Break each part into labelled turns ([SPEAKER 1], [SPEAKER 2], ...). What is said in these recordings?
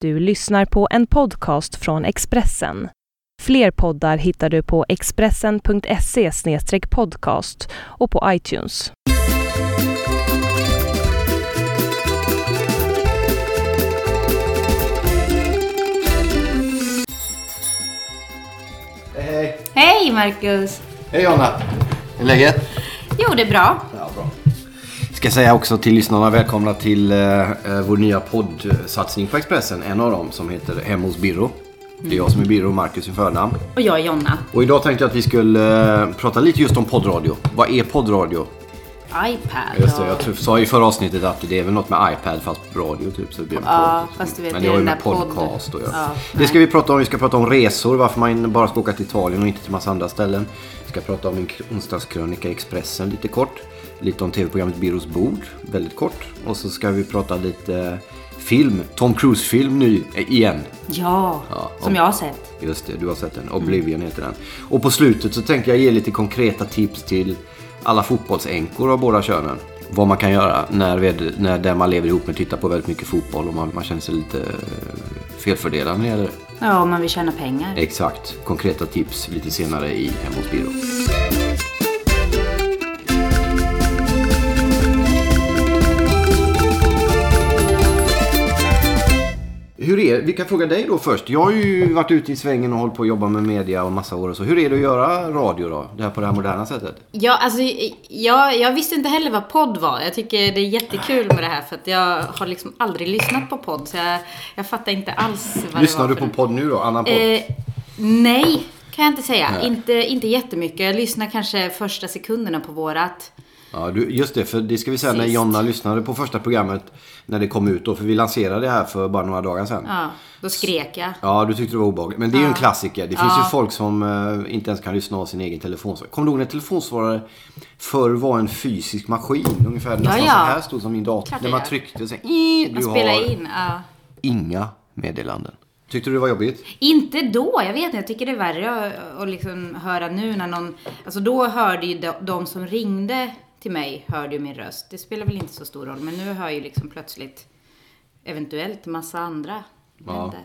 [SPEAKER 1] Du lyssnar på en podcast från Expressen. Fler poddar hittar du på expressen.se podcast och på iTunes.
[SPEAKER 2] Hej,
[SPEAKER 3] Hej Marcus!
[SPEAKER 2] hej Jonna! Hur är läget?
[SPEAKER 3] Jo, det är bra.
[SPEAKER 2] Ja, bra. Ska säga också till lyssnarna välkomna till eh, eh, vår nya poddsatsning på Expressen. En av dem som heter Hem hos Birro. Det är jag som är Birro, Marcus i förnamn.
[SPEAKER 3] Och jag är Jonna.
[SPEAKER 2] Och idag tänkte jag att vi skulle eh, prata lite just om poddradio. Vad är poddradio?
[SPEAKER 3] iPad.
[SPEAKER 2] Just det,
[SPEAKER 3] och-
[SPEAKER 2] jag tror- sa i förra avsnittet att det är väl något med iPad fast radio typ. Så det blir en
[SPEAKER 3] Ja,
[SPEAKER 2] podd,
[SPEAKER 3] fast du vet,
[SPEAKER 2] Men
[SPEAKER 3] det
[SPEAKER 2] det
[SPEAKER 3] är
[SPEAKER 2] har
[SPEAKER 3] den
[SPEAKER 2] ju med
[SPEAKER 3] där podd-
[SPEAKER 2] podcast att göra.
[SPEAKER 3] Ja,
[SPEAKER 2] det
[SPEAKER 3] nej.
[SPEAKER 2] ska vi prata om. Vi ska prata om resor, varför man bara ska åka till Italien och inte till massa andra ställen. Vi ska prata om en k- onsdagskrönika i Expressen lite kort. Lite om tv-programmet Birros bord, väldigt kort. Och så ska vi prata lite film, Tom Cruise-film ny, eh, igen.
[SPEAKER 3] Ja,
[SPEAKER 2] Ja,
[SPEAKER 3] som
[SPEAKER 2] om-
[SPEAKER 3] jag har sett.
[SPEAKER 2] Just det, du har sett den. Oblivion heter den. Och på slutet så tänkte jag ge lite konkreta tips till alla fotbollsänkor av båda könen. Vad man kan göra när, ved, när den man lever ihop med tittar på väldigt mycket fotboll och man, man känner sig lite eh, felfördelad när det gäller det.
[SPEAKER 3] Ja, om man vill tjäna pengar.
[SPEAKER 2] Exakt. Konkreta tips lite senare i Hemma hos Biro. Hur är, vi kan fråga dig då först. Jag har ju varit ute i svängen och hållit på att jobba med media och massa år och så. Hur är det att göra radio då? Det här på det här moderna sättet?
[SPEAKER 3] Ja, alltså, jag, jag visste inte heller vad podd var. Jag tycker det är jättekul med det här för att jag har liksom aldrig lyssnat på podd. Så jag, jag fattar inte alls vad det var
[SPEAKER 2] Lyssnar du
[SPEAKER 3] för
[SPEAKER 2] på
[SPEAKER 3] något.
[SPEAKER 2] podd nu då? Annan podd?
[SPEAKER 3] Eh, nej, kan jag inte säga. Inte, inte jättemycket. Jag lyssnar kanske första sekunderna på vårat.
[SPEAKER 2] Ja, du, just det. För det ska vi säga när
[SPEAKER 3] Sist.
[SPEAKER 2] Jonna lyssnade på första programmet när det kom ut då. För vi lanserade det här för bara några dagar sedan.
[SPEAKER 3] Ja, då skrek jag.
[SPEAKER 2] Ja, du tyckte det var obehagligt. Men det är ju en klassiker. Det finns ju folk som eh, inte ens kan lyssna av sin egen telefonsvarare. Kommer du ihåg när telefonsvarare förr var en fysisk maskin? Ungefär nästan
[SPEAKER 3] ja.
[SPEAKER 2] så här stod som min dator.
[SPEAKER 3] Klart
[SPEAKER 2] När
[SPEAKER 3] det
[SPEAKER 2] man
[SPEAKER 3] gör.
[SPEAKER 2] tryckte så här,
[SPEAKER 3] Man
[SPEAKER 2] Du
[SPEAKER 3] spelar
[SPEAKER 2] har
[SPEAKER 3] in. Ja.
[SPEAKER 2] inga meddelanden. Tyckte du det var jobbigt?
[SPEAKER 3] Inte då, jag vet inte. Jag tycker det är värre att, att liksom höra nu när någon... Alltså då hörde ju de, de som ringde till mig, hörde ju min röst. Det spelar väl inte så stor roll, men nu hör ju liksom plötsligt eventuellt massa andra. Jag vet
[SPEAKER 2] Ja.
[SPEAKER 3] inte.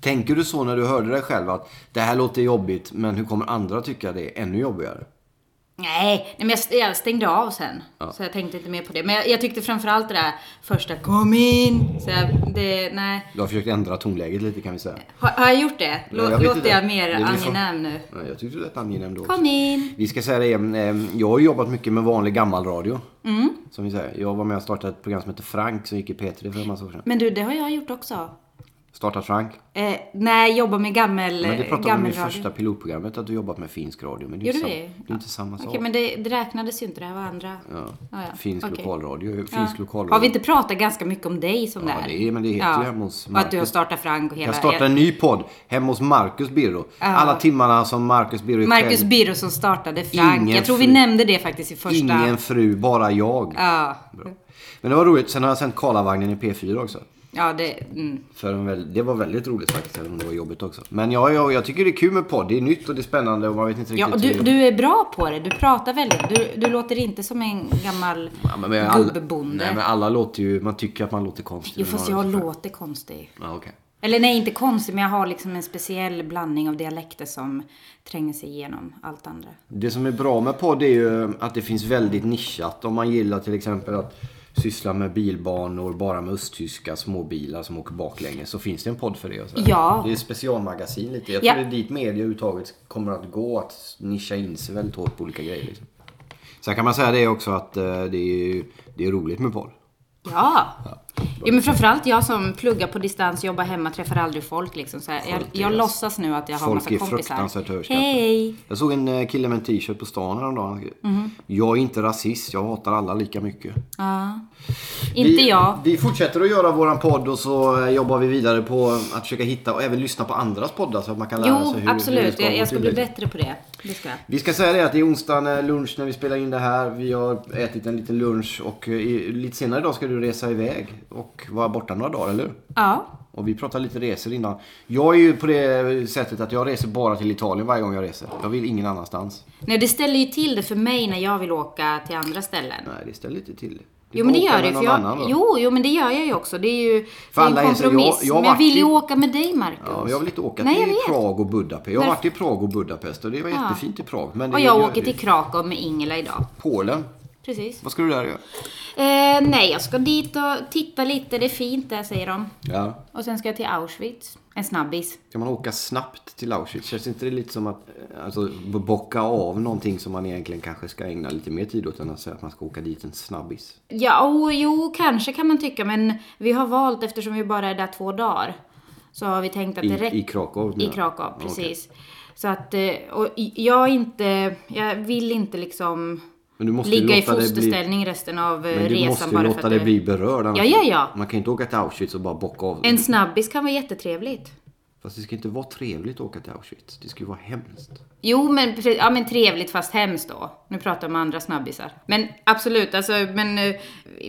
[SPEAKER 2] Tänker du så när du hörde dig själv att det här låter jobbigt men hur kommer andra tycka det är ännu jobbigare?
[SPEAKER 3] Nej, nej, men jag, st- jag stängde av sen. Så jag tänkte inte mer på det. Men jag, jag tyckte framförallt det där första kom in. Så jag, det, nej.
[SPEAKER 2] Du har försökt ändra tonläget lite kan vi säga.
[SPEAKER 3] Har, har jag gjort det? Lå,
[SPEAKER 2] Jag vet
[SPEAKER 3] låter
[SPEAKER 2] inte.
[SPEAKER 3] jag mer
[SPEAKER 2] Det liksom- blir så-
[SPEAKER 3] angenäm nu?
[SPEAKER 2] Nej, jag tyckte du lät angenäm då.
[SPEAKER 3] Kom in!
[SPEAKER 2] Vi ska säga det, eh, jag har jobbat mycket med vanlig gammal radio.
[SPEAKER 3] Mm.
[SPEAKER 2] Som vi säger. Jag var med och startade ett program som hette Frank som gick i P3 för en massa år sedan.
[SPEAKER 3] Men du, det har jag gjort också.
[SPEAKER 2] Startat Frank.
[SPEAKER 3] Eh, nej, jobba med gammel
[SPEAKER 2] Men det pratade vi om i
[SPEAKER 3] gammel
[SPEAKER 2] första pilotprogrammet att du jobbat med finsk radio. Men det är
[SPEAKER 3] Gjorde vi?
[SPEAKER 2] inte, samma, det är inte samma sak.
[SPEAKER 3] Okej, men det, det räknades ju inte. Det här var andra.
[SPEAKER 2] ja.
[SPEAKER 3] Ja, ja.
[SPEAKER 2] Finsk
[SPEAKER 3] Okej.
[SPEAKER 2] lokalradio. Finsk
[SPEAKER 3] Ja.
[SPEAKER 2] lokalradio.
[SPEAKER 3] Har vi inte pratat ganska mycket om dig som
[SPEAKER 2] Ja, det är, men det heter ju hemma hos
[SPEAKER 3] Och att du har
[SPEAKER 2] Marcus.
[SPEAKER 3] startat Frank och hela...
[SPEAKER 2] Jag startar en ny podd hemma hos Marcus Birro. Alla timmarna som Marcus Birro är
[SPEAKER 3] Marcus
[SPEAKER 2] själv.
[SPEAKER 3] Birro som startade Frank.
[SPEAKER 2] Ingen
[SPEAKER 3] jag tror vi
[SPEAKER 2] fru-
[SPEAKER 3] nämnde det faktiskt i första...
[SPEAKER 2] Ingen fru, bara jag.
[SPEAKER 3] Ja,
[SPEAKER 2] Bra. Men det var roligt. Sen har jag sänt Karlavagnen i P4 också.
[SPEAKER 3] ja det... Mm.
[SPEAKER 2] För en väl, det var väldigt roligt faktiskt, även om det var jobbigt också. Men ja, ja, jag tycker det är kul med podd. Det är nytt och det är spännande och man vet inte
[SPEAKER 3] Ja,
[SPEAKER 2] riktigt
[SPEAKER 3] och du,
[SPEAKER 2] hur...
[SPEAKER 3] du är bra på det. Du pratar väldigt. Du, du låter inte som en gammal
[SPEAKER 2] Ja, men alla-
[SPEAKER 3] gubbonde.
[SPEAKER 2] Nej, men alla låter ju... Man tycker att man låter konstig.
[SPEAKER 3] Jo,
[SPEAKER 2] men
[SPEAKER 3] fast
[SPEAKER 2] man-
[SPEAKER 3] jag låter konstig.
[SPEAKER 2] Ja, okej.
[SPEAKER 3] Eller nej, inte konstig, men jag har liksom en speciell blandning av dialekter som tränger sig igenom allt andra.
[SPEAKER 2] Det som är bra med podd är ju att det finns väldigt nischat. Om man gillar till exempel att syssla med bilbanor bara med östtyska småbilar som åker baklänges så finns det en podd för det. Och så här.
[SPEAKER 3] Ja.
[SPEAKER 2] Det är specialmagasin lite. Jag
[SPEAKER 3] Ja.
[SPEAKER 2] tror det är dit media överhuvudtaget kommer att gå att nischa in sig väldigt hårt på olika grejer. Liksom. Sen kan man säga det också att eh, det är, ju- det är roligt med podd.
[SPEAKER 3] Ja! Jo, men framförallt jag som pluggar på distans, jobbar hemma, träffar aldrig folk liksom. Så här, jag,
[SPEAKER 2] Folk är-
[SPEAKER 3] jag låtsas nu att jag har
[SPEAKER 2] folk
[SPEAKER 3] massa
[SPEAKER 2] är fruktansvärt
[SPEAKER 3] kompisar.
[SPEAKER 2] överskattade.
[SPEAKER 3] Hej!
[SPEAKER 2] Jag såg en eh, kille med en t-shirt på stan häromdagen.
[SPEAKER 3] Mhm.
[SPEAKER 2] Mm. Jag är inte rasist, jag hatar alla lika mycket.
[SPEAKER 3] Ja. Inte
[SPEAKER 2] vi,
[SPEAKER 3] jag.
[SPEAKER 2] Vi fortsätter att göra våran podd och så eh, jobbar vi vidare på att försöka hitta och även lyssna på andras poddar så att man kan lära
[SPEAKER 3] Jo,
[SPEAKER 2] sig alltså, hur, hur det
[SPEAKER 3] absolut.
[SPEAKER 2] ska
[SPEAKER 3] jag,
[SPEAKER 2] gå
[SPEAKER 3] jag ska
[SPEAKER 2] till
[SPEAKER 3] bli
[SPEAKER 2] liksom.
[SPEAKER 3] bättre på det. Det ska jag.
[SPEAKER 2] Vi ska säga det att det är onsdagen eh, lunch när vi spelar in det här. Vi har ätit en liten lunch och eh, i- lite senare idag ska du resa iväg och vara borta några dagar, eller hur?
[SPEAKER 3] Ja.
[SPEAKER 2] Och vi pratade lite resor innan. Jag är ju på det sättet att jag reser bara till Italien varje gång jag reser. Jag vill ingen annanstans.
[SPEAKER 3] Nej, det ställer ju till det för mig när jag vill åka till andra ställen.
[SPEAKER 2] Nej, det ställer lite till det.
[SPEAKER 3] Jo men det
[SPEAKER 2] åka
[SPEAKER 3] gör
[SPEAKER 2] med
[SPEAKER 3] det. För
[SPEAKER 2] någon
[SPEAKER 3] jag,
[SPEAKER 2] annan då.
[SPEAKER 3] jo, jo men det gör jag ju också. Det är ju det
[SPEAKER 2] För
[SPEAKER 3] är
[SPEAKER 2] alla
[SPEAKER 3] en
[SPEAKER 2] är så- jag-
[SPEAKER 3] kompromiss.
[SPEAKER 2] jag
[SPEAKER 3] men jag
[SPEAKER 2] vart
[SPEAKER 3] vill ju
[SPEAKER 2] ju-
[SPEAKER 3] åka med dig Marcus.
[SPEAKER 2] Ja, men jag vill inte åka
[SPEAKER 3] Nej, jag
[SPEAKER 2] till
[SPEAKER 3] vet.
[SPEAKER 2] Prag och Budapest. Jag har
[SPEAKER 3] Därför-
[SPEAKER 2] varit i Prag och Budapest och det var jättefint i Prag. Men det
[SPEAKER 3] och
[SPEAKER 2] är
[SPEAKER 3] jag
[SPEAKER 2] ju-
[SPEAKER 3] åker till Krakow med Ingela idag.
[SPEAKER 2] Polen.
[SPEAKER 3] Precis.
[SPEAKER 2] Vad ska du där göra?
[SPEAKER 3] Eh, nej, jag ska dit och titta lite. Det är fint där säger de.
[SPEAKER 2] Ja.
[SPEAKER 3] Och sen ska jag till Auschwitz. En snabbis.
[SPEAKER 2] Kan man åka snabbt till Auschwitz? Känns inte det lite som att eh, alltså, b- bocka av någonting som man egentligen kanske ska ägna lite mer tid åt än att säga att man ska åka dit en snabbis?
[SPEAKER 3] Ja, och jo, kanske kan man tycka. Men vi har valt, eftersom vi bara är där två dagar, så har vi tänkt att det
[SPEAKER 2] I,
[SPEAKER 3] räcker.
[SPEAKER 2] i Krakow?
[SPEAKER 3] I
[SPEAKER 2] menar jag.
[SPEAKER 3] Krakow,
[SPEAKER 2] Ja, okej.
[SPEAKER 3] precis. Så att, eh, och jag är inte, jag vill inte liksom
[SPEAKER 2] Men du måste ju
[SPEAKER 3] ligga i
[SPEAKER 2] låta det bli-
[SPEAKER 3] fosterställning resten av eh,
[SPEAKER 2] Men du
[SPEAKER 3] resan
[SPEAKER 2] måste ju
[SPEAKER 3] bara
[SPEAKER 2] låta
[SPEAKER 3] för
[SPEAKER 2] det
[SPEAKER 3] att
[SPEAKER 2] bli berörd. annars-
[SPEAKER 3] Ja, ja, ja.
[SPEAKER 2] Man kan ju inte åka till Auschwitz och bara bocka av.
[SPEAKER 3] En snabbis kan vara jättetrevligt.
[SPEAKER 2] Fast det ska inte vara trevligt att åka till Auschwitz. Det ska ju vara hemskt.
[SPEAKER 3] Jo, men, precis- ja, men trevligt fast hemskt då. Nu pratar jag om andra snabbisar. Men absolut, alltså, men eh,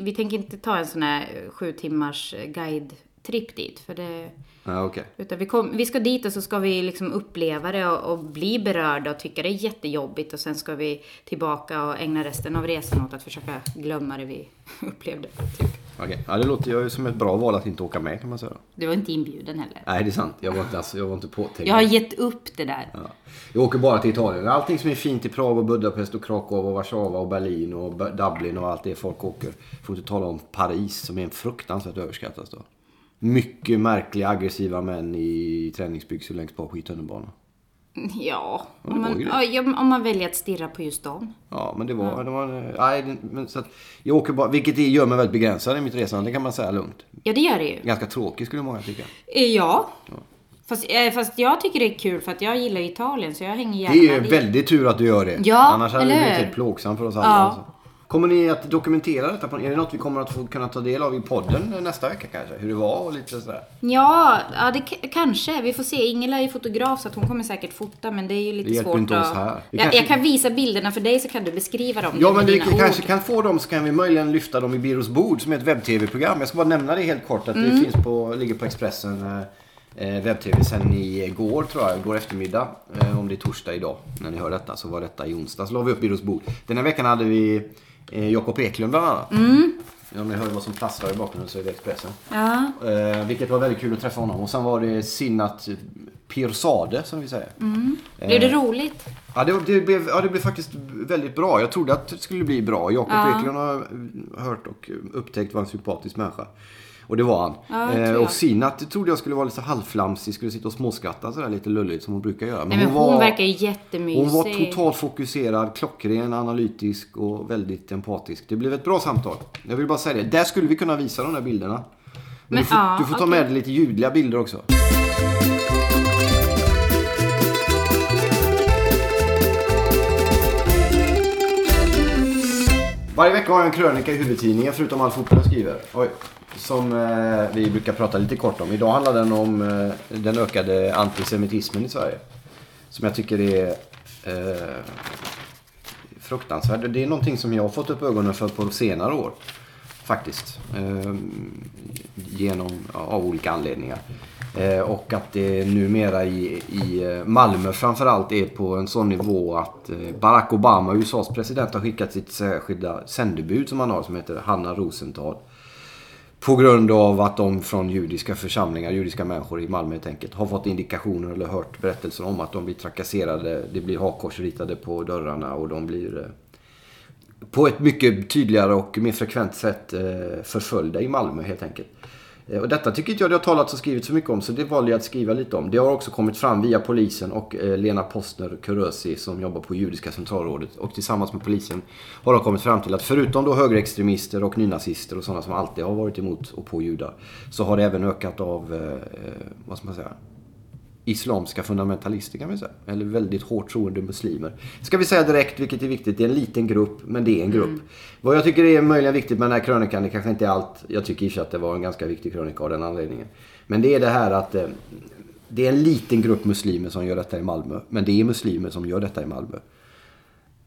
[SPEAKER 3] vi tänker inte ta en sån här eh, sju timmars eh, guide-tripp dit. För det,
[SPEAKER 2] Ja, okej.
[SPEAKER 3] utan vi, kom, vi ska dit och så ska vi liksom uppleva det och, och bli berörda och tycka det är jättejobbigt. Och sen ska vi tillbaka och ägna resten av resan åt att försöka glömma det vi upplevde. Typ.
[SPEAKER 2] Okej. Ja, det låter ju som ett bra val att inte åka med kan man säga. då.
[SPEAKER 3] Du var inte inbjuden heller.
[SPEAKER 2] Nej, det är sant. Jag var inte, alltså, jag var inte påtänkt.
[SPEAKER 3] Jag har gett upp det där.
[SPEAKER 2] Ja. Jag åker bara till Italien. Allting som är fint i Prag och Budapest och Krakow och Warszawa och Berlin och B- Dublin och allt det folk åker. Får inte tala om Paris som är en fruktansvärt överskattad stad. Mycket märkliga aggressiva män i träningsbyxor längst bak i tunnelbanan.
[SPEAKER 3] Ja,
[SPEAKER 2] det
[SPEAKER 3] om
[SPEAKER 2] var
[SPEAKER 3] man,
[SPEAKER 2] ju det.
[SPEAKER 3] ja, ja, men om man väljer att stirra på just dem.
[SPEAKER 2] Ja, men det var... Det var nej, det- men så att, jag åker bara, vilket gör mig väldigt begränsad i mitt resande kan man säga lugnt.
[SPEAKER 3] Ja, det gör det ju.
[SPEAKER 2] Ganska tråkigt skulle många tycka.
[SPEAKER 3] Eh, Ja. Fast, eh, fast jag tycker det är kul för att jag gillar Italien så jag hänger
[SPEAKER 2] Det är
[SPEAKER 3] gärna
[SPEAKER 2] ju
[SPEAKER 3] dit.
[SPEAKER 2] väldigt tur att du gör det.
[SPEAKER 3] Ja,
[SPEAKER 2] Annars hade det
[SPEAKER 3] eller
[SPEAKER 2] blivit
[SPEAKER 3] hur?
[SPEAKER 2] helt plågsamt för oss alla.
[SPEAKER 3] Ja.
[SPEAKER 2] Alltså. Kommer ni att dokumentera detta? På, är det något vi kommer att få kunna ta del av i podden nästa vecka kanske? Hur det var och lite sådär.
[SPEAKER 3] Ja, ja det k- kanske. Vi får se. Ingela är ju fotograf så att hon kommer säkert fota men det är ju lite
[SPEAKER 2] Det hjälper
[SPEAKER 3] svårt
[SPEAKER 2] inte oss
[SPEAKER 3] att...
[SPEAKER 2] här. Vi
[SPEAKER 3] Jag,
[SPEAKER 2] kanske-
[SPEAKER 3] jag kan visa bilderna för dig så kan du beskriva dem
[SPEAKER 2] Ja,
[SPEAKER 3] med
[SPEAKER 2] men vi
[SPEAKER 3] dina ord.
[SPEAKER 2] kanske kan få dem så kan vi möjligen lyfta dem i Biros bord som är ett webb-tv-program. Jag ska bara nämna det helt kort att det finns på, ligger på Expressen eh, eh, webb-tv sen igår tror jag, igår eftermiddag. Eh, om det är torsdag idag när ni hör detta så var detta i onsdags. la vi upp Biros bord. Den här veckan hade vi eh, Jakob Eklund bland annat. Om ni hör vad som prasslar i bakgrunden så är det Expressen.
[SPEAKER 3] Ja.
[SPEAKER 2] Eh, vilket var väldigt kul att träffa honom. Och sen var det Sinnat Pirsade som vi säger.
[SPEAKER 3] Blev
[SPEAKER 2] Eh,
[SPEAKER 3] det roligt?
[SPEAKER 2] Ja det, det blev, ja, det blev faktiskt väldigt bra. Jag trodde att det skulle bli bra. Jakob
[SPEAKER 3] Ja.
[SPEAKER 2] Eklund har hört och upptäckt var en sympatisk människa. Och det var han. Eh,
[SPEAKER 3] Ja, det tror jag.
[SPEAKER 2] och Sinat trodde jag skulle vara lite halvflamsig, skulle sitta och småskratta sådär lite lulligt som hon brukar göra.
[SPEAKER 3] Nej, men hon,
[SPEAKER 2] var,
[SPEAKER 3] verkar ju jättemysig.
[SPEAKER 2] hon var totalt fokuserad, klockren, analytisk och väldigt empatisk. Det blev ett bra samtal. Jag vill bara säga det. Där skulle vi kunna visa de där bilderna. Men,
[SPEAKER 3] Men,
[SPEAKER 2] du får,
[SPEAKER 3] ja,
[SPEAKER 2] du får ta
[SPEAKER 3] okej.
[SPEAKER 2] med dig lite ljudliga bilder också. Varje vecka har jag en krönika i huvudtidningen förutom all fotboll jag skriver. Oj. Som eh, vi brukar prata lite kort om. Idag handlar den om eh, den ökade antisemitismen i Sverige. Som jag tycker är eh, fruktansvärd. Det är någonting som jag har fått upp ögonen för på senare år. Faktiskt. Eh, genom, av olika anledningar. Eh, och att det numera i, i eh, Malmö framförallt är på en sån nivå att eh, Barack Obama, USAs president, har skickat sitt särskilda sändebud som han har som heter Hanna Rosenthal. På grund av att de från judiska församlingar, judiska människor i Malmö helt enkelt, har fått indikationer eller hört berättelser om att de blir trakasserade. Det blir hakkors ritade på dörrarna och de blir eh, på ett mycket tydligare och mer frekvent sätt eh, förföljda i Malmö helt enkelt. Eh, Och detta tycker inte jag det har talats och skrivits så mycket om så det valde jag att skriva lite om. Det har också kommit fram via polisen och eh, Lena Postner Kurösi som jobbar på Judiska centralrådet och tillsammans med polisen har de kommit fram till att förutom då högerextremister och nynazister och sådana som alltid har varit emot och på judar så har det även ökat av, eh, eh, vad ska man säga, islamska fundamentalister kan vi säga. Eller väldigt hårt troende muslimer. Ska vi säga direkt, vilket är viktigt, det är en liten grupp, men det är en grupp. Vad jag tycker är möjligen viktigt med den här krönikan, det kanske inte är allt. Jag tycker i och för sig att det var en ganska viktig krönika av den anledningen. Men det är det här att eh, det är en liten grupp muslimer som gör detta i Malmö. Men det är muslimer som gör detta i Malmö.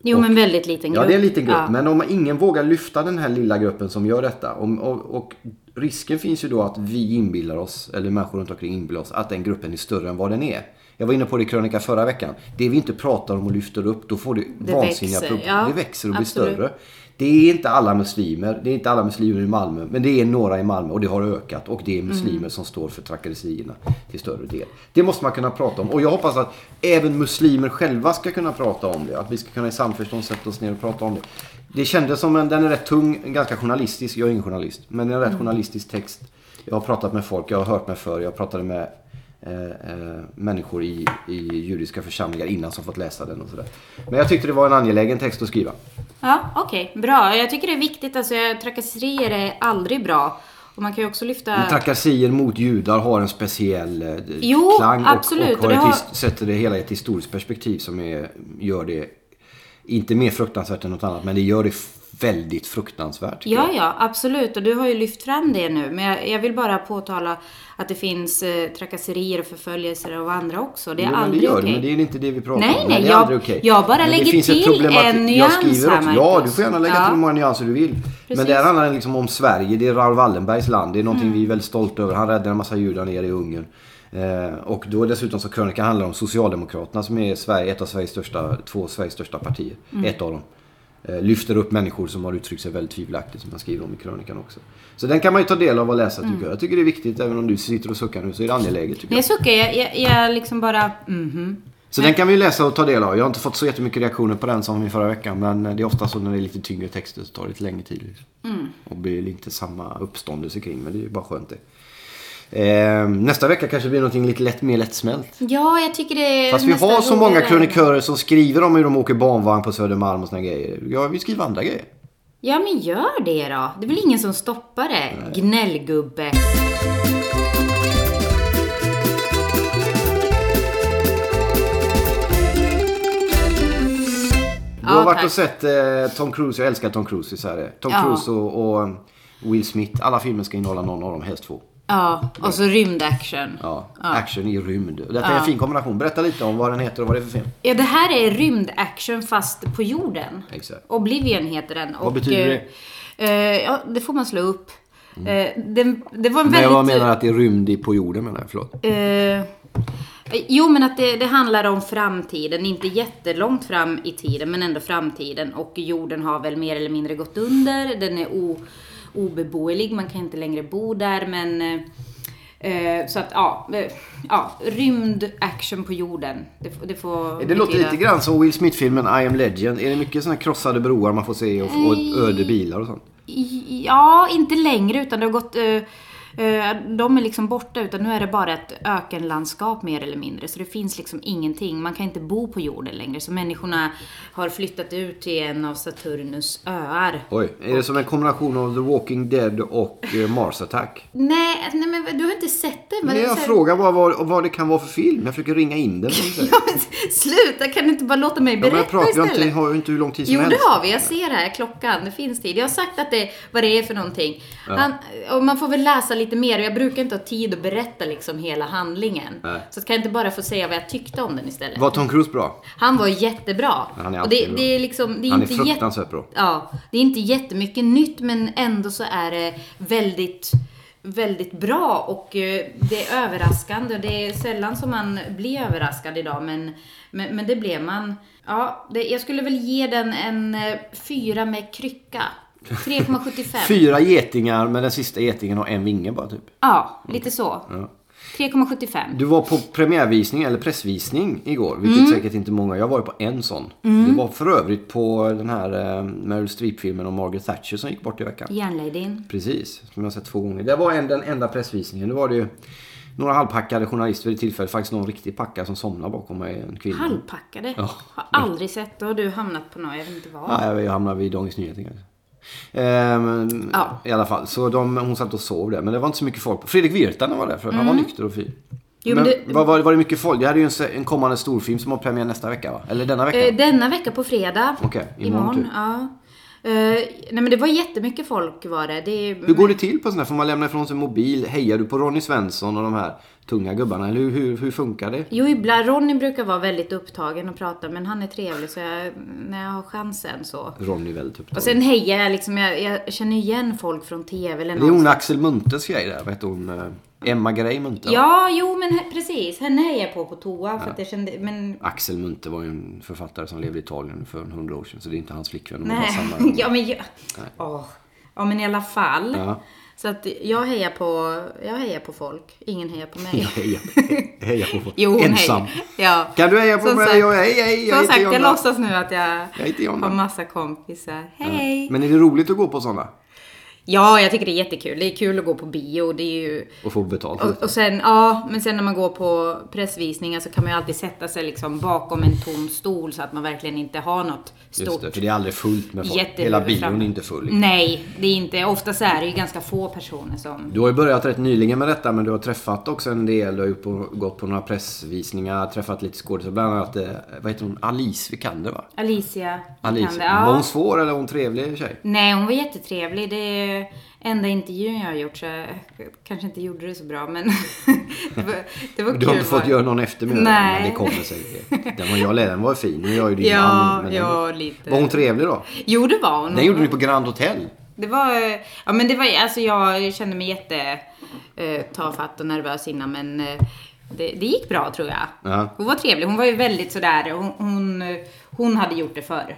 [SPEAKER 3] Jo, men väldigt liten grupp.
[SPEAKER 2] Ja, det är en liten grupp.
[SPEAKER 3] Ja.
[SPEAKER 2] Men om ingen vågar lyfta den här lilla gruppen som gör detta. Om, och, och risken finns ju då att vi inbillar oss, eller människor runt omkring inbillar oss, att den gruppen är större än vad den är. Jag var inne på det i krönika förra veckan. Det vi inte pratar om och lyfter upp, då får det,
[SPEAKER 3] Det
[SPEAKER 2] vansinniga
[SPEAKER 3] växer,
[SPEAKER 2] problem.
[SPEAKER 3] ja,
[SPEAKER 2] det växer och blir
[SPEAKER 3] absolut.
[SPEAKER 2] större. Det är inte alla muslimer, det är inte alla muslimer i Malmö, men det är några i Malmö och det har ökat. Och det är muslimer som står för trakasserierna till större del. Det måste man kunna prata om. Och jag hoppas att även muslimer själva ska kunna prata om det. Att vi ska kunna i samförstånd sätta oss ner och prata om det. Det kändes som en, den är rätt tung, en ganska journalistisk, jag är ingen journalist, men en rätt journalistisk text. Jag har pratat med folk, jag har hört mig för, jag pratade med eh, eh, människor i, i judiska församlingar innan som fått läsa den och sådär. Men jag tyckte det var en angelägen text att skriva.
[SPEAKER 3] Ja, okej. Bra. Jag tycker det är viktigt. Alltså, jag- trakasserier är aldrig bra. Och man kan ju också lyfta...
[SPEAKER 2] Men trakasserier mot judar har en speciell eh,
[SPEAKER 3] Jo,
[SPEAKER 2] klang
[SPEAKER 3] absolut,
[SPEAKER 2] och,
[SPEAKER 3] och
[SPEAKER 2] och
[SPEAKER 3] det
[SPEAKER 2] har ett
[SPEAKER 3] har-
[SPEAKER 2] his- sätter det hela i ett historiskt perspektiv som är, gör det inte mer fruktansvärt än något annat, men det gör det f- väldigt fruktansvärt. tycker
[SPEAKER 3] Ja,
[SPEAKER 2] jag.
[SPEAKER 3] ja, absolut. Och du har ju lyft fram det nu. Men jag, jag vill bara påtala att det finns eh, trakasserier och förföljelser av andra också. Det är
[SPEAKER 2] Jo, men
[SPEAKER 3] aldrig
[SPEAKER 2] det gör
[SPEAKER 3] okej.
[SPEAKER 2] det, men det är inte det vi pratar
[SPEAKER 3] Nej,
[SPEAKER 2] om.
[SPEAKER 3] nej,
[SPEAKER 2] det är
[SPEAKER 3] jag-
[SPEAKER 2] aldrig okej.
[SPEAKER 3] jag bara
[SPEAKER 2] Men det
[SPEAKER 3] lägger
[SPEAKER 2] finns ett
[SPEAKER 3] till
[SPEAKER 2] problemati-
[SPEAKER 3] en
[SPEAKER 2] Jag
[SPEAKER 3] nyans
[SPEAKER 2] skriver
[SPEAKER 3] här,
[SPEAKER 2] också, ja, du
[SPEAKER 3] Marcus.
[SPEAKER 2] får gärna lägga
[SPEAKER 3] Ja.
[SPEAKER 2] till hur många nyanser du vill.
[SPEAKER 3] Precis. Mm.
[SPEAKER 2] Men där handlar det liksom om Sverige. Det är Raoul Wallenbergs land. Det är någonting vi är väldigt stolta över. Han räddade en massa judar nere i Ungern. Eh, och då dessutom så krönikan handlar om Socialdemokraterna som är Sverige, ett av Sveriges största, två av Sveriges största partier.
[SPEAKER 3] Mm.
[SPEAKER 2] Ett av dem. Eh, lyfter upp människor som har uttryckt sig väldigt tvivelaktigt som man skriver om i krönikan också. Så den kan man ju ta del av och läsa
[SPEAKER 3] Mm.
[SPEAKER 2] tycker jag. Jag tycker det är viktigt även om du sitter och suckar nu så är det angeläget tycker jag.
[SPEAKER 3] Nej, jag suckar. Jag, jag, jag liksom bara... mhm.
[SPEAKER 2] Så den kan vi ju läsa och ta del av. Jag har inte fått så jättemycket reaktioner på den som i förra veckan. Men det är ofta så när det är lite tyngre texter så tar det lite längre tid. Liksom.
[SPEAKER 3] Mm.
[SPEAKER 2] Och blir inte samma uppståndelse kring. Men det är ju bara skönt det. Eh, nästa vecka kanske blir någonting lite lätt, mer lättsmält.
[SPEAKER 3] Ja, jag tycker det Ehm, är
[SPEAKER 2] Fast vi
[SPEAKER 3] nästan
[SPEAKER 2] har så många
[SPEAKER 3] roligare.
[SPEAKER 2] krönikörer som skriver om hur de åker barnvagn på Södermalm och såna grejer. Ja, vi skriver andra grejer.
[SPEAKER 3] Ja, men gör det då. Det är väl ingen som stoppar det. Gnällgubbe.
[SPEAKER 2] Du har
[SPEAKER 3] Ja,
[SPEAKER 2] varit
[SPEAKER 3] tack.
[SPEAKER 2] och sett eh, Tom Cruise. Jag älskar Tom Cruise. Så här. är det. Tom
[SPEAKER 3] Ja.
[SPEAKER 2] Cruise och, och Will Smith. Alla filmer ska innehålla någon av dem, helst två.
[SPEAKER 3] Ja, och så rymdaction.
[SPEAKER 2] Ja, action i rymd. Och Detta är en fin kombination. Berätta lite om vad den heter och vad det är för film.
[SPEAKER 3] Ja, det här är rymdaction fast på jorden.
[SPEAKER 2] Exakt.
[SPEAKER 3] Oblivion heter den.
[SPEAKER 2] Vad betyder det? Mm.
[SPEAKER 3] det? Ja, det får man slå upp. Eh, den, det var en
[SPEAKER 2] Men jag
[SPEAKER 3] väldigt...
[SPEAKER 2] menar att det är rymd i- på jorden menar jag, förlåt.
[SPEAKER 3] eh, jo, men att det, det handlar om framtiden. Inte jättelångt fram i tiden, men ändå framtiden. Och jorden har väl mer eller mindre gått under. Den är o, obeboelig. Man kan inte längre bo där, men... eh, Eh, så att, ja. Eh, ja rymdaction på jorden. Det, f- det får...
[SPEAKER 2] Det låter
[SPEAKER 3] betyda-
[SPEAKER 2] lite grann som Will Smith-filmen I am legend. Är det mycket sådana här krossade broar man får se och, och öde bilar och sånt?
[SPEAKER 3] I- Ja, inte längre utan det har gått... eh, eh, de är liksom borta utan nu är det bara ett ökenlandskap mer eller mindre. Så det finns liksom ingenting. Man kan inte bo på jorden längre. Så människorna har flyttat ut till en av Saturnus öar.
[SPEAKER 2] Oj. Är det som en kombination av The Walking Dead och eh, Mars Attack?
[SPEAKER 3] Nej, nej men du har inte sett det. Men
[SPEAKER 2] Men
[SPEAKER 3] det är
[SPEAKER 2] jag
[SPEAKER 3] så här-
[SPEAKER 2] frågar bara vad, vad det kan vara för film. Jag försöker ringa in den. som du säger.
[SPEAKER 3] Ja, men Sluta, kan du inte bara låta mig
[SPEAKER 2] Ja, men
[SPEAKER 3] berätta
[SPEAKER 2] jag pratar ju
[SPEAKER 3] istället?
[SPEAKER 2] inte, har ju inte hur lång tid som
[SPEAKER 3] Jo, det
[SPEAKER 2] helst.
[SPEAKER 3] har vi. Jag ser här klockan. Det finns tid. Jag har sagt att det, vad det är för någonting. Han, och man får väl läsa lite mer. Jag brukar inte ha tid att berätta liksom hela handlingen.
[SPEAKER 2] Nej.
[SPEAKER 3] Så kan jag inte bara få säga vad jag tyckte om den istället?
[SPEAKER 2] Var Tom Cruise bra?
[SPEAKER 3] Han var jättebra.
[SPEAKER 2] Men han är
[SPEAKER 3] och det,
[SPEAKER 2] alltid bra.
[SPEAKER 3] det är liksom, det är
[SPEAKER 2] Han är
[SPEAKER 3] inte jätte-
[SPEAKER 2] fruktansvärt bra.
[SPEAKER 3] Ja, det är inte jättemycket nytt men ändå så är det väldigt, väldigt bra och eh, det är överraskande. Det är sällan som man blir överraskad idag men, men, men det blev man. Ja, det, jag skulle väl ge den en eh, fyra med krycka. 3,75.
[SPEAKER 2] Fyra getingar men den sista getingen har en vinge bara typ.
[SPEAKER 3] ja, lite så. 3,75.
[SPEAKER 2] Du var på premiärvisning eller pressvisning igår, vilket säkert inte många. Jag var ju på en sån. Det var för övrigt på den här eh, Meryl Streep-filmen om Margaret Thatcher som gick bort i veckan.
[SPEAKER 3] Järnladyn.
[SPEAKER 2] Precis, som jag har sett två gånger. Det var en, den enda pressvisningen. Det var det ju några halvpackade journalister vid det tillfället. Faktiskt någon riktig packad som somnade bakom mig, en kvinna.
[SPEAKER 3] Halvpackade.
[SPEAKER 2] Ja.
[SPEAKER 3] Har aldrig sett. Då har du hamnat på något jag vet inte vad.
[SPEAKER 2] Ja, jag hamnade vid Dagens Nyheter kanske. Ehm,
[SPEAKER 3] Ja.
[SPEAKER 2] I alla fall, så de, hon satt och sov där. Men det var inte så mycket folk. Fredrik Virtanen var där för han var nykter och fin.
[SPEAKER 3] Mm. Jo,
[SPEAKER 2] men
[SPEAKER 3] men det-
[SPEAKER 2] var, var, var det mycket folk? Det här är ju en, se- en kommande storfilm som har premiär nästa vecka va? Eller denna vecka?
[SPEAKER 3] Eh, Denna vecka på fredag.
[SPEAKER 2] Okej, imorgon typ.
[SPEAKER 3] ja. Eh, nej men det var jättemycket folk var det. det är-
[SPEAKER 2] hur går det till på sån här? Får man lämna ifrån sig mobil? Hejar du på Ronny Svensson och de här tunga gubbarna? Eller hur, hur, hur funkar det?
[SPEAKER 3] Jo, ibland. Ronny brukar vara väldigt upptagen och prata men han är trevlig så jag, när jag har chansen så.
[SPEAKER 2] Ronny typ. är väldigt upptagen.
[SPEAKER 3] Och sen hejar jag liksom, jag, jag känner igen folk från TV eller
[SPEAKER 2] Det är
[SPEAKER 3] något.
[SPEAKER 2] hon Axel Munthes grej där. Vet hon? eh, Emma Grej Munthe. va?
[SPEAKER 3] Ja, jo men he- precis. Henne hejade jag på på toa för att jag kände, men
[SPEAKER 2] Axel Munthe var ju en författare som levde i Italien för 100 år sedan. Så det är inte hans flickvän. Nej.
[SPEAKER 3] nej.
[SPEAKER 2] Samma.
[SPEAKER 3] ja men jag, åh. Ja men i alla fall.
[SPEAKER 2] Ja.
[SPEAKER 3] Så att jag hejar på, jag hejar på folk. Ingen hejar på mig.
[SPEAKER 2] Heja, heja på folk.
[SPEAKER 3] Jo, hon
[SPEAKER 2] Ensam.
[SPEAKER 3] hejar. Ja.
[SPEAKER 2] Kan du heja på
[SPEAKER 3] Som
[SPEAKER 2] mig?
[SPEAKER 3] sagt-
[SPEAKER 2] Jag, hej, hej, jag
[SPEAKER 3] Som
[SPEAKER 2] heter
[SPEAKER 3] sagt, jag
[SPEAKER 2] Jonna.
[SPEAKER 3] låtsas nu att jag,
[SPEAKER 2] Jag heter Jonna.
[SPEAKER 3] har massa kompisar. Hej! Ja.
[SPEAKER 2] Men är det roligt att gå på sådana?
[SPEAKER 3] jag tycker det är jättekul. Det är kul att gå på bio. Det är ju...
[SPEAKER 2] Och få betalt för
[SPEAKER 3] Och,
[SPEAKER 2] det?
[SPEAKER 3] och sen, ja, men sen när man går på pressvisningar så kan man ju alltid sätta sig liksom bakom en tom stol så att man verkligen inte har något
[SPEAKER 2] Just
[SPEAKER 3] stort Mm.
[SPEAKER 2] det, för det är aldrig fullt med folk.
[SPEAKER 3] jättehuvud
[SPEAKER 2] Hela bion
[SPEAKER 3] fram.
[SPEAKER 2] är inte full.
[SPEAKER 3] Nej, det är inte. Ofta så är det ju ganska få personer som...
[SPEAKER 2] Du har ju börjat rätt nyligen med detta men du har träffat också en del. Du har gjort på, gått på några pressvisningar, träffat lite skådespelare. Bland annat, eh, vad heter hon, Alice Vikander va?
[SPEAKER 3] Alicia.
[SPEAKER 2] Alice.
[SPEAKER 3] Vikander, ja.
[SPEAKER 2] Var hon svår eller var hon trevlig tjej?
[SPEAKER 3] Nej, hon var jättetrevlig. Det är enda intervjun jag har gjort så jag kanske inte gjorde det så bra men det var, det var
[SPEAKER 2] Du har
[SPEAKER 3] kul
[SPEAKER 2] inte fått
[SPEAKER 3] bara.
[SPEAKER 2] göra någon eftermiddag?
[SPEAKER 3] Nej.
[SPEAKER 2] Men det kommer sig. Den var jag lärde, den var fin. Nu gör ju din
[SPEAKER 3] Ja,
[SPEAKER 2] man, men den-
[SPEAKER 3] ja, lite.
[SPEAKER 2] Var hon trevlig då?
[SPEAKER 3] Jo, det var hon.
[SPEAKER 2] Den gjorde ni på Grand Hotel.
[SPEAKER 3] Det var, eh, ja men det var, alltså jag kände mig jätte eh, tafatt och nervös innan men eh, det, det gick bra tror jag.
[SPEAKER 2] Ja.
[SPEAKER 3] Hon var trevlig, hon var ju väldigt sådär, hon, hon, eh, hon hade gjort det förr.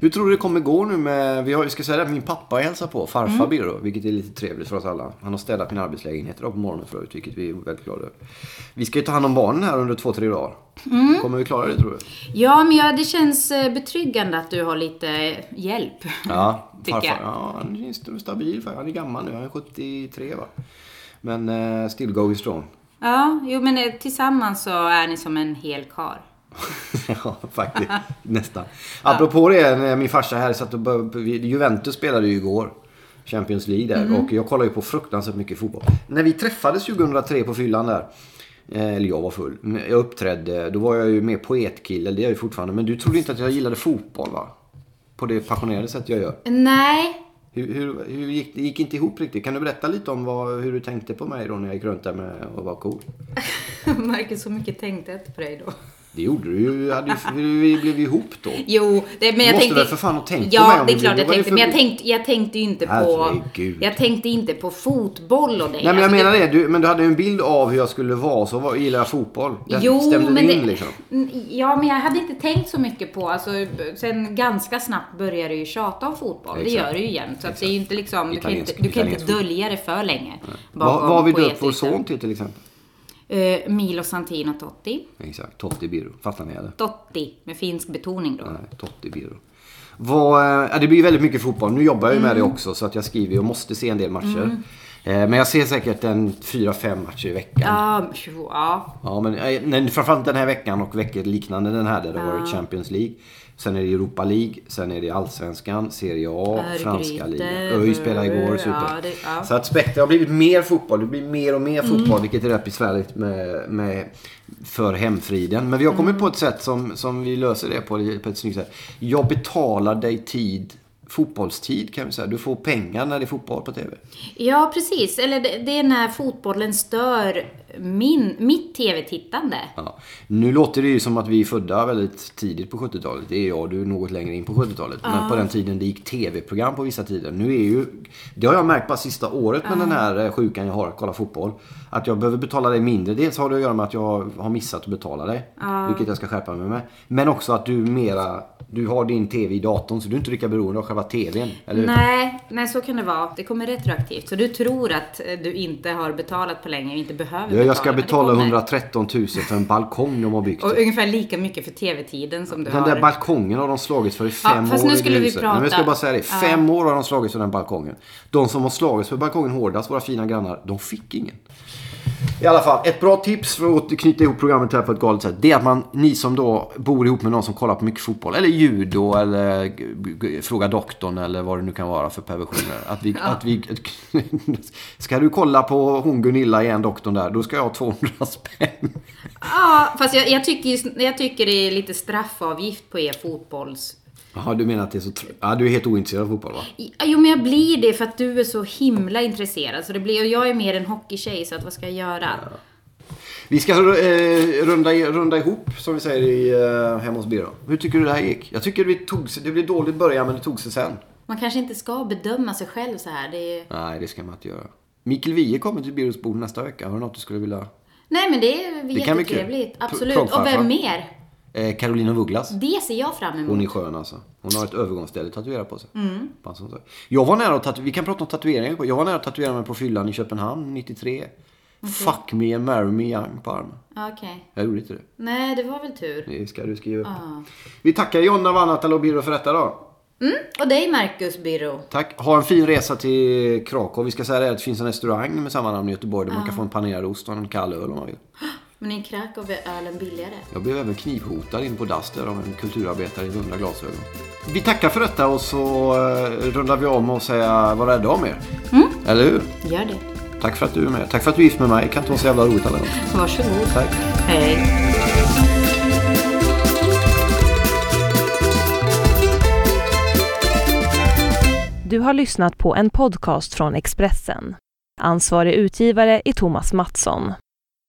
[SPEAKER 2] Hur tror du det kommer gå nu med... Vi har, vi ska säga det, min pappa hälsar på,
[SPEAKER 3] Mm.
[SPEAKER 2] farfar Birro, vilket är lite trevligt för oss alla. Han har städat min arbetslägenhet idag på morgonen för övrigt, vilket vi är väldigt glada över. Vi ska ju ta hand om barnen här under två, tre dagar.
[SPEAKER 3] Mm.
[SPEAKER 2] Kommer vi klara det tror du?
[SPEAKER 3] Ja men ja, det känns eh, betryggande att du har lite eh, hjälp.
[SPEAKER 2] Ja,
[SPEAKER 3] Tycker jag.
[SPEAKER 2] Ja, han är st- stabil. för Han är gammal nu. Han är 73 va? Men eh, still going strong.
[SPEAKER 3] Ja, jo men eh, tillsammans så är ni som en hel kar.
[SPEAKER 2] ja, faktiskt. Nästan. Apropå det, när min farsa här satt och bör- Juventus spelade ju igår. Champions League där. Och jag kollar ju på fruktansvärt mycket fotboll. När vi träffades 2003 på fyllan där. eh, Eller jag var full. Men Jag uppträdde. Då var jag ju mer poetkille. Det är jag ju fortfarande. Men du trodde inte att jag gillade fotboll va? På det passionerade sätt jag gör.
[SPEAKER 3] Nej,
[SPEAKER 2] Hur, hur, hur gick det? gick inte ihop riktigt? Kan du berätta lite om vad, hur du tänkte på mig då när jag gick runt där med och var cool?
[SPEAKER 3] Marcus så mycket tänkte jag inte på dig då.
[SPEAKER 2] Det gjorde du ju. Hade ju vi blev ju ihop då.
[SPEAKER 3] Jo, det, men jag
[SPEAKER 2] måste
[SPEAKER 3] tänkte...
[SPEAKER 2] väl för fan ha tänkt på mig
[SPEAKER 3] Ja,
[SPEAKER 2] om
[SPEAKER 3] det är
[SPEAKER 2] du
[SPEAKER 3] klart
[SPEAKER 2] vill.
[SPEAKER 3] jag
[SPEAKER 2] Vad är det
[SPEAKER 3] tänkte. Men jag
[SPEAKER 2] för-
[SPEAKER 3] tänkte, jag tänkte ju inte på...
[SPEAKER 2] Herregud.
[SPEAKER 3] Jag tänkte inte på fotboll och det.
[SPEAKER 2] Nej men jag
[SPEAKER 3] Alltså, det-
[SPEAKER 2] menar det. Du, men du hade ju en bild av hur jag skulle vara. Så var, gillar jag fotboll. Där
[SPEAKER 3] Jo,
[SPEAKER 2] stämde
[SPEAKER 3] men
[SPEAKER 2] det in
[SPEAKER 3] det,
[SPEAKER 2] liksom.
[SPEAKER 3] N- Ja, men jag hade inte tänkt så mycket på... Alltså, b- sen ganska snabbt börjar du ju tjata om fotboll. Det
[SPEAKER 2] Exakt.
[SPEAKER 3] gör du ju jämt. Så att det är ju inte liksom... Du kan ju inte,
[SPEAKER 2] Italiensk-
[SPEAKER 3] du kan inte
[SPEAKER 2] italiensk fotboll.
[SPEAKER 3] dölja det för länge.
[SPEAKER 2] Vad,
[SPEAKER 3] bakom
[SPEAKER 2] vad har vi döpt vår
[SPEAKER 3] poetrikten.
[SPEAKER 2] son till till exempel?
[SPEAKER 3] Eh, Milo Santino Totti.
[SPEAKER 2] Exakt. Totti Biro. Fattar ni eller?
[SPEAKER 3] Totti, med finsk betoning då.
[SPEAKER 2] Nej, Totti Biro. Vad, eh, ja, det blir ju väldigt mycket fotboll. Nu jobbar jag ju
[SPEAKER 3] Mm.
[SPEAKER 2] med det också så att jag skriver och måste se en del matcher. Eh, Men jag ser säkert en 4-5 matcher i veckan.
[SPEAKER 3] Ja, tjo, ja.
[SPEAKER 2] Ja, men eh, nej, framförallt den här veckan och veckor liknande den här där det har varit Champions League. Sen är det Europa League, sen är det Allsvenskan, Serie A,
[SPEAKER 3] Örgryte,
[SPEAKER 2] franska ligan. ÖIS spelade igår,
[SPEAKER 3] ja,
[SPEAKER 2] super.
[SPEAKER 3] det- ja. Mm.
[SPEAKER 2] Så att spektrat har blivit mer fotboll, det blir mer och mer fotboll vilket är rätt besvärligt med, med, för hemfriden. Men vi har kommit
[SPEAKER 3] Mm.
[SPEAKER 2] på ett sätt som, som vi löser det på, på ett snyggt sätt. Jag betalar dig tid, fotbollstid kan vi säga. Du får pengar när det är fotboll på TV.
[SPEAKER 3] Ja, precis. Eller det, det är när fotbollen stör min, mitt tv-tittande.
[SPEAKER 2] Ja. Nu låter det ju som att vi är födda väldigt tidigt på 70-talet. Det är jag och du något längre in på 70-talet. Men på den tiden det gick tv-program på vissa tider. Nu är ju, det har jag märkt bara sista året med den här eh, sjukan jag har att kolla fotboll. Att jag behöver betala dig mindre. Dels har det att göra med att jag har missat att betala dig. Vilket jag ska skärpa mig med. Men också att du mera, du har din tv i datorn så du är inte lika beroende av själva tvn. Eller hur?
[SPEAKER 3] Nej, nej, så kan det vara. Det kommer retroaktivt. Så du tror att eh, du inte har betalat på länge och inte behöver
[SPEAKER 2] Du,
[SPEAKER 3] betala.
[SPEAKER 2] Jag ska
[SPEAKER 3] men Mm. det
[SPEAKER 2] betala
[SPEAKER 3] kommer.
[SPEAKER 2] 113 000 för en balkong de har byggt.
[SPEAKER 3] Och ungefär lika mycket för tv-tiden som du
[SPEAKER 2] Den
[SPEAKER 3] har.
[SPEAKER 2] där balkongen har de slagits för i fem
[SPEAKER 3] fast
[SPEAKER 2] år
[SPEAKER 3] nu
[SPEAKER 2] i det
[SPEAKER 3] skulle vi
[SPEAKER 2] huset.
[SPEAKER 3] prata-
[SPEAKER 2] Men jag ska bara säga det.
[SPEAKER 3] Ja.
[SPEAKER 2] Fem år har de slagits för den balkongen. De som har slagits för balkongen hårdast, våra fina grannar, de fick ingen. I alla fall, ett bra tips för att knyta ihop programmet här på ett galet sätt. Det är att man, ni som då bor ihop med någon som kollar på mycket fotboll. Eller judo eller g- g- fråga doktorn eller vad det nu kan vara för perversioner. Att vi, att vi, ska du kolla på hon Gunilla igen, doktorn där. Då ska jag ha 200 spänn.
[SPEAKER 3] Ja, fast jag, jag, tycker, just- jag tycker det är lite straffavgift på er fotbolls...
[SPEAKER 2] Jaha, du menar att det är så... tr- Ja, du är helt ointresserad av fotboll va?
[SPEAKER 3] Ja, Jo men jag blir det för att du är så himla intresserad. Så det blir, och jag är mer en hockeytjej så att vad ska jag göra?
[SPEAKER 2] Vi ska eh, runda, i- runda ihop som vi säger i, eh, hemma hos Birro. Hur tycker du det här gick? Jag tycker det, tog sig, det blev dåligt i början men det tog sig sen.
[SPEAKER 3] Man kanske inte ska bedöma sig själv så här. Det är...
[SPEAKER 2] Nej, det ska man inte göra. Mikael Wiehe kommer till Birros bord nästa vecka. Har du något du skulle vilja?
[SPEAKER 3] Nej men det är
[SPEAKER 2] Det kan bli kul.
[SPEAKER 3] jättetrevligt.
[SPEAKER 2] Pr-
[SPEAKER 3] Absolut. Och
[SPEAKER 2] prångfarfar.
[SPEAKER 3] vem mer?
[SPEAKER 2] Eh, Carolina af Ugglas.
[SPEAKER 3] Det ser jag fram emot.
[SPEAKER 2] Hon är skön alltså. Hon har ett övergångsställe tatuerat på sig. Bara sånt där. Jag var nära att tatu- Vi kan prata om tatueringar. Jag var nära att tatuera mig på fyllan i Köpenhamn 93. Fuck me and marry me young på armen.
[SPEAKER 3] Ja, Okej.
[SPEAKER 2] Jag gjorde inte det.
[SPEAKER 3] Nej, det var väl tur.
[SPEAKER 2] Det ska du skriva upp.
[SPEAKER 3] Ja.
[SPEAKER 2] Vi tackar Jonna Vanhatalo och Birro för detta då.
[SPEAKER 3] Mm. Och dig Marcus Byrå.
[SPEAKER 2] Tack. Ha en fin resa till Krakow. Vi ska säga det att det finns en restaurang med samma namn i Göteborg där man kan få en panerad ost och en kall öl om man vill.
[SPEAKER 3] Men i Krakow är ölen billigare.
[SPEAKER 2] Jag blev även knivhotad in på Duster av en kulturarbetare i runda glasögon. Vi tackar för detta och så eh, rundar vi om och säger var rädda om er. Eller hur?
[SPEAKER 3] Gör det.
[SPEAKER 2] Tack för att du är med. Tack för att du är gift med mig. Det kan inte vara så jävla roligt alla gånger.
[SPEAKER 3] Varsågod.
[SPEAKER 2] Tack.
[SPEAKER 3] Hej.
[SPEAKER 1] Du har lyssnat på en podcast från Expressen. Ansvarig utgivare är Thomas Mattsson.